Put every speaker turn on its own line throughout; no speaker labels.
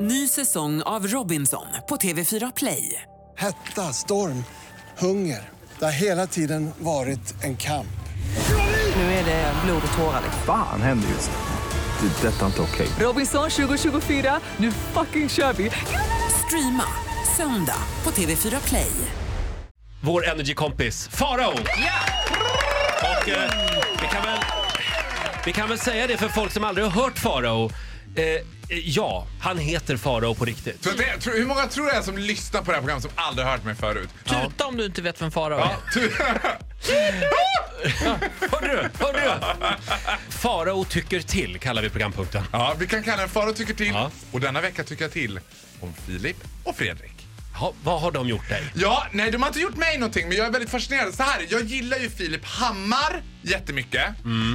Ny säsong av Robinson på TV4 Play.
Hetta, storm, hunger. Det har hela tiden varit en kamp.
Nu är det blod och tårar. liksom.
Fan händer just nu. Det. är Detta är inte okej.
Robinson 2024, nu fucking kör vi! Streama söndag på TV4 Play.
vår energikompis Farao. Och eh, vi, kan väl, vi kan väl säga det för folk som aldrig har hört Farao. Eh, eh, ja, han heter Farao på riktigt.
Så det, tror- hur många tror det är som lyssnar på det här programmet som aldrig har hört mig förut?
Tuta om du inte vet vem Farao är.
Hörde du? Hörde du? Farao tycker till kallar vi programpunkten.
Ja, vi kan kalla den Faro tycker till.
Ja.
Och denna vecka tycker jag till om Filip och Fredrik.
Ja, vad har de gjort dig?
Ja, nej de har inte gjort mig någonting men jag är väldigt fascinerad. Så här, jag gillar ju Filip Hammar jättemycket.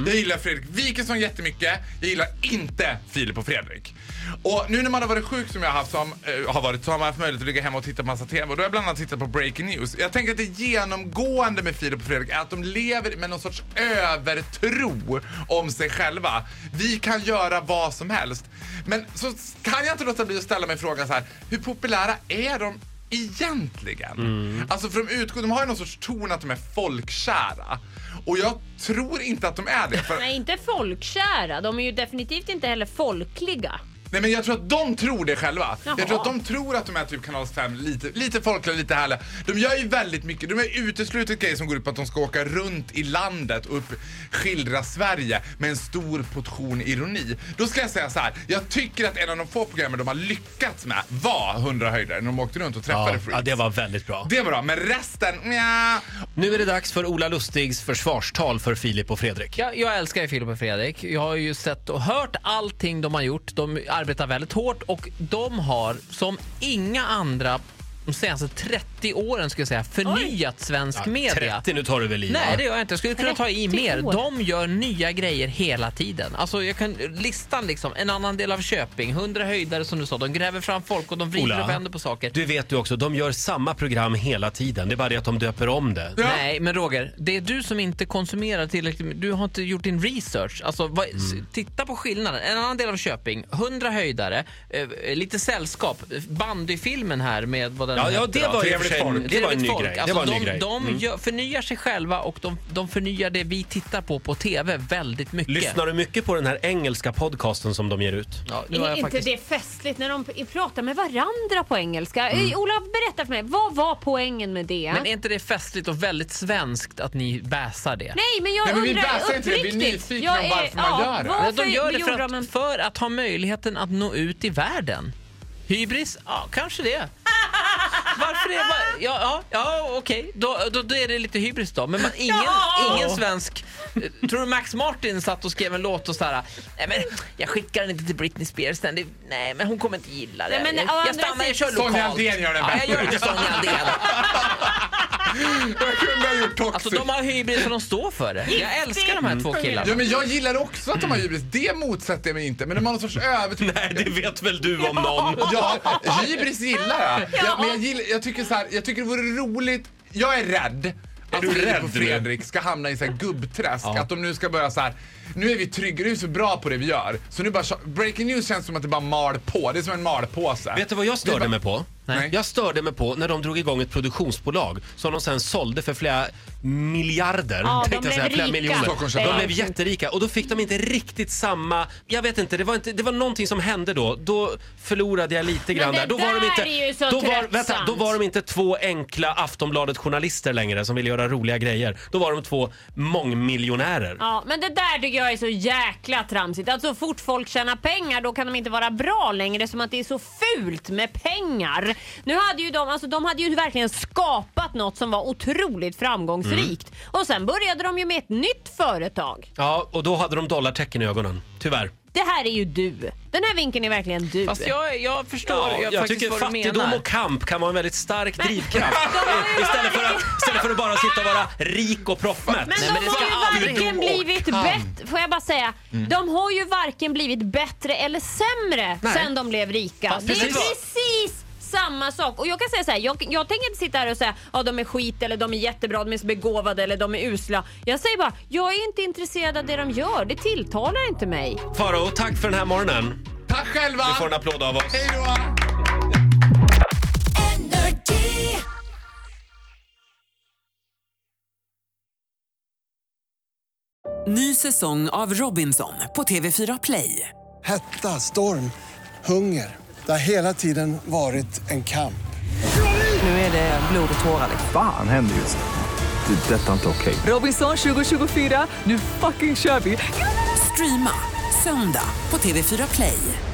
Jag gillar Fredrik Wikensson jättemycket. Jag gillar inte Filip och Fredrik. Och nu när man har varit sjuk som jag har haft, som, eh, har varit, så har man haft möjlighet att ligga hemma och titta på massa TV. Och då har jag bland annat tittat på Breaking News. Jag tänker att det genomgående med Filip och Fredrik är att de lever med någon sorts övertro om sig själva. Vi kan göra vad som helst. Men så kan jag inte låta bli att ställa mig frågan så här, hur populära är de egentligen. Alltså för de utgår, de har ju någon sorts ton att de är folkkära. Och jag tror inte att de är det. För,
Nej, inte folkkära. De är ju definitivt inte heller folkliga.
nej men jag tror att de tror det själva.
Jaha.
Jag tror att de tror att de är typ kanal 5, lite, lite folkliga, lite härliga. De gör ju väldigt mycket, de har uteslutit grejer som går ut på att de ska åka runt i landet och upp, skildra Sverige med en stor portion ironi. Då ska jag säga så här, jag tycker att en av de få programmen de har lyckats med var 100 höjder när de åkte runt och träffade
Ja,
freaks.
ja, det var väldigt bra.
det var bra, men resten, nja.
Nu är det dags för Ola Lustigs försvarstal för Filip och Fredrik.
Jag, jag älskar ju Filip och Fredrik. Jag har ju sett och hört allting de har gjort. De arbetar väldigt hårt och de har som inga andra de senaste 30 åren skulle jag säga förnyat svensk media.
30 nu tar du väl i?
Nej
va?
det gör jag inte. Jag skulle kunna ta i
30
mer.
år.
De gör nya grejer hela tiden. Alltså jag kan, listan liksom, en annan del av Köping, 100 höjdare som du sa. De gräver fram folk och de vrider
Ola,
och vänder på saker.
Du vet ju också, de gör samma program hela tiden. Det är bara det att de döper om det.
Ja.
Nej, men Roger, det är du som inte konsumerar tillräckligt. Du har inte gjort din research. Alltså, vad,
Mm.
s- Titta på skillnaden. En annan del av Köping, 100 höjdare, eh, lite sällskap, bandyfilmen här med vad den
Ja, ja,
hette
det
då.
var ju i och för
Trevligt
sig
folk.
det var en ny
Trevligt folk.
grej. Det
Alltså,
var en ny
de
grej. Mm.
de gör, förnyar sig själva och de, de förnyar det vi tittar på på TV väldigt mycket.
Lyssnar du mycket på den här engelska podcasten som de ger ut?
Ja, nu har
Är
jag
inte
faktiskt...
det festligt när de p- pratar med varandra på engelska?
Mm.
Eh, Ola, berätta för mig. Vad var poängen med det?
Men är inte det festligt och väldigt svenskt att ni bäsar det?
Nej, men jag
Nej, men vi
undrar
väsar inte det. Vi är
uppriktigt.
nyfikna
Jag
om
är-
varför man
ja,
gör det.
Varför
de gör det för
gjorde
att,
de en...
för att ha möjligheten att nå ut i världen. Hybris? Ja, kanske det. Varför det? Va- Ja, ja, ja okej. Då, då, då är det lite hybris då. Men man, ingen, ingen svensk... Eh, Tror du Max Martin satt och skrev en låt och så här... Nej, men jag skickar den inte till Britney Spears. Den, det, nej, men hon kommer inte gilla det.
Nej, men å
jag,
andra
jag stannar, jag kör
sidan-
Sonja
lokalt.
Aldén gör den
ja, jag gör det till
bättre.
Sonja Aldén.
Jag kunde ha gjort toxic.
Alltså, de har hybris och de står för det. Jag älskar de här två killarna.
Ja, men jag gillar också att de har hybris. Det motsätter jag mig inte. Men de har någon sorts övertro.
Nej, det vet väl du om någon.
Ja, hybris gillar jag. jag men jag, gillar, jag, tycker så här, jag tycker det vore roligt. Jag är rädd. Att
du
Filip
rädd
och
nu?
Fredrik ska hamna i så här gubbträsk. Att de nu ska börja så här. Nu är vi trygga, nu är vi så bra på det vi gör. Så nu bara, breaking news känns som att det bara mal på. Det är som en malpåse.
Vet du vad jag
Det är
störde
bara-
mig på?
Nej.
Jag störde mig på när de drog igång ett produktionsbolag som de sen sålde för flera miljarder.
Ja, de
tänkte jag
blev
säga, flera
rika.
miljoner.
Stockholmsköpare.
De blev jätterika och då fick de inte riktigt samma... Jag vet inte, det var, inte, det var någonting som hände då. Då förlorade jag lite grann
det
där. Då var de
där
inte,
är ju så
då var,
tröttsamt.
vänta, då var de inte två enkla Aftonbladet-journalister längre som ville göra roliga grejer. Då var de två mångmiljonärer.
Ja, men det där tycker jag är så jäkla tramsigt. Att så fort folk tjänar pengar då kan de inte vara bra längre som att det är så fult med pengar. Nu hade ju de, alltså de hade ju verkligen skapat något som var otroligt framgångsrikt.
Mm.
Och sen började de ju med ett nytt företag.
Ja, och då hade de dollartecken i ögonen. Tyvärr.
Det här är ju du. Den här vinkeln är verkligen du.
Fast jag, jag förstår
Ja,
jag
jag,
faktiskt
tycker
vad du menar.
fattigdom och kamp kan vara en väldigt stark drivkraft. I- istället, för att, istället för att bara sitta och vara rik och proffmätt.
Men
Nej,
de
men det ska
har ju
aldrig
varken
gå. Mm.
blivit bättre, får jag bara säga. De har ju varken blivit bättre eller sämre
Nej.
sen de blev rika.
Fast
det är
precis vad-
precis samma sak. Och jag kan säga så här, jag, jag tänker inte sitta här och säga att ja, de är skit eller de är jättebra, de är så begåvade eller de är usla. Jag säger bara, jag är inte intresserad av det de gör. Det tilltalar inte mig.
Farao, tack för den här morgonen.
Tack själva!
Du får en applåd av oss.
Hej då!
Ny säsong av Robinson på TV4 Play.
Hetta, storm, hunger. Det har hela tiden varit en kamp.
Nu är det blod och tårar.
Fan händer just nu. Det. är Detta är inte okej.
Robinson 2024, nu fucking kör vi! Streama söndag på TV4 Play.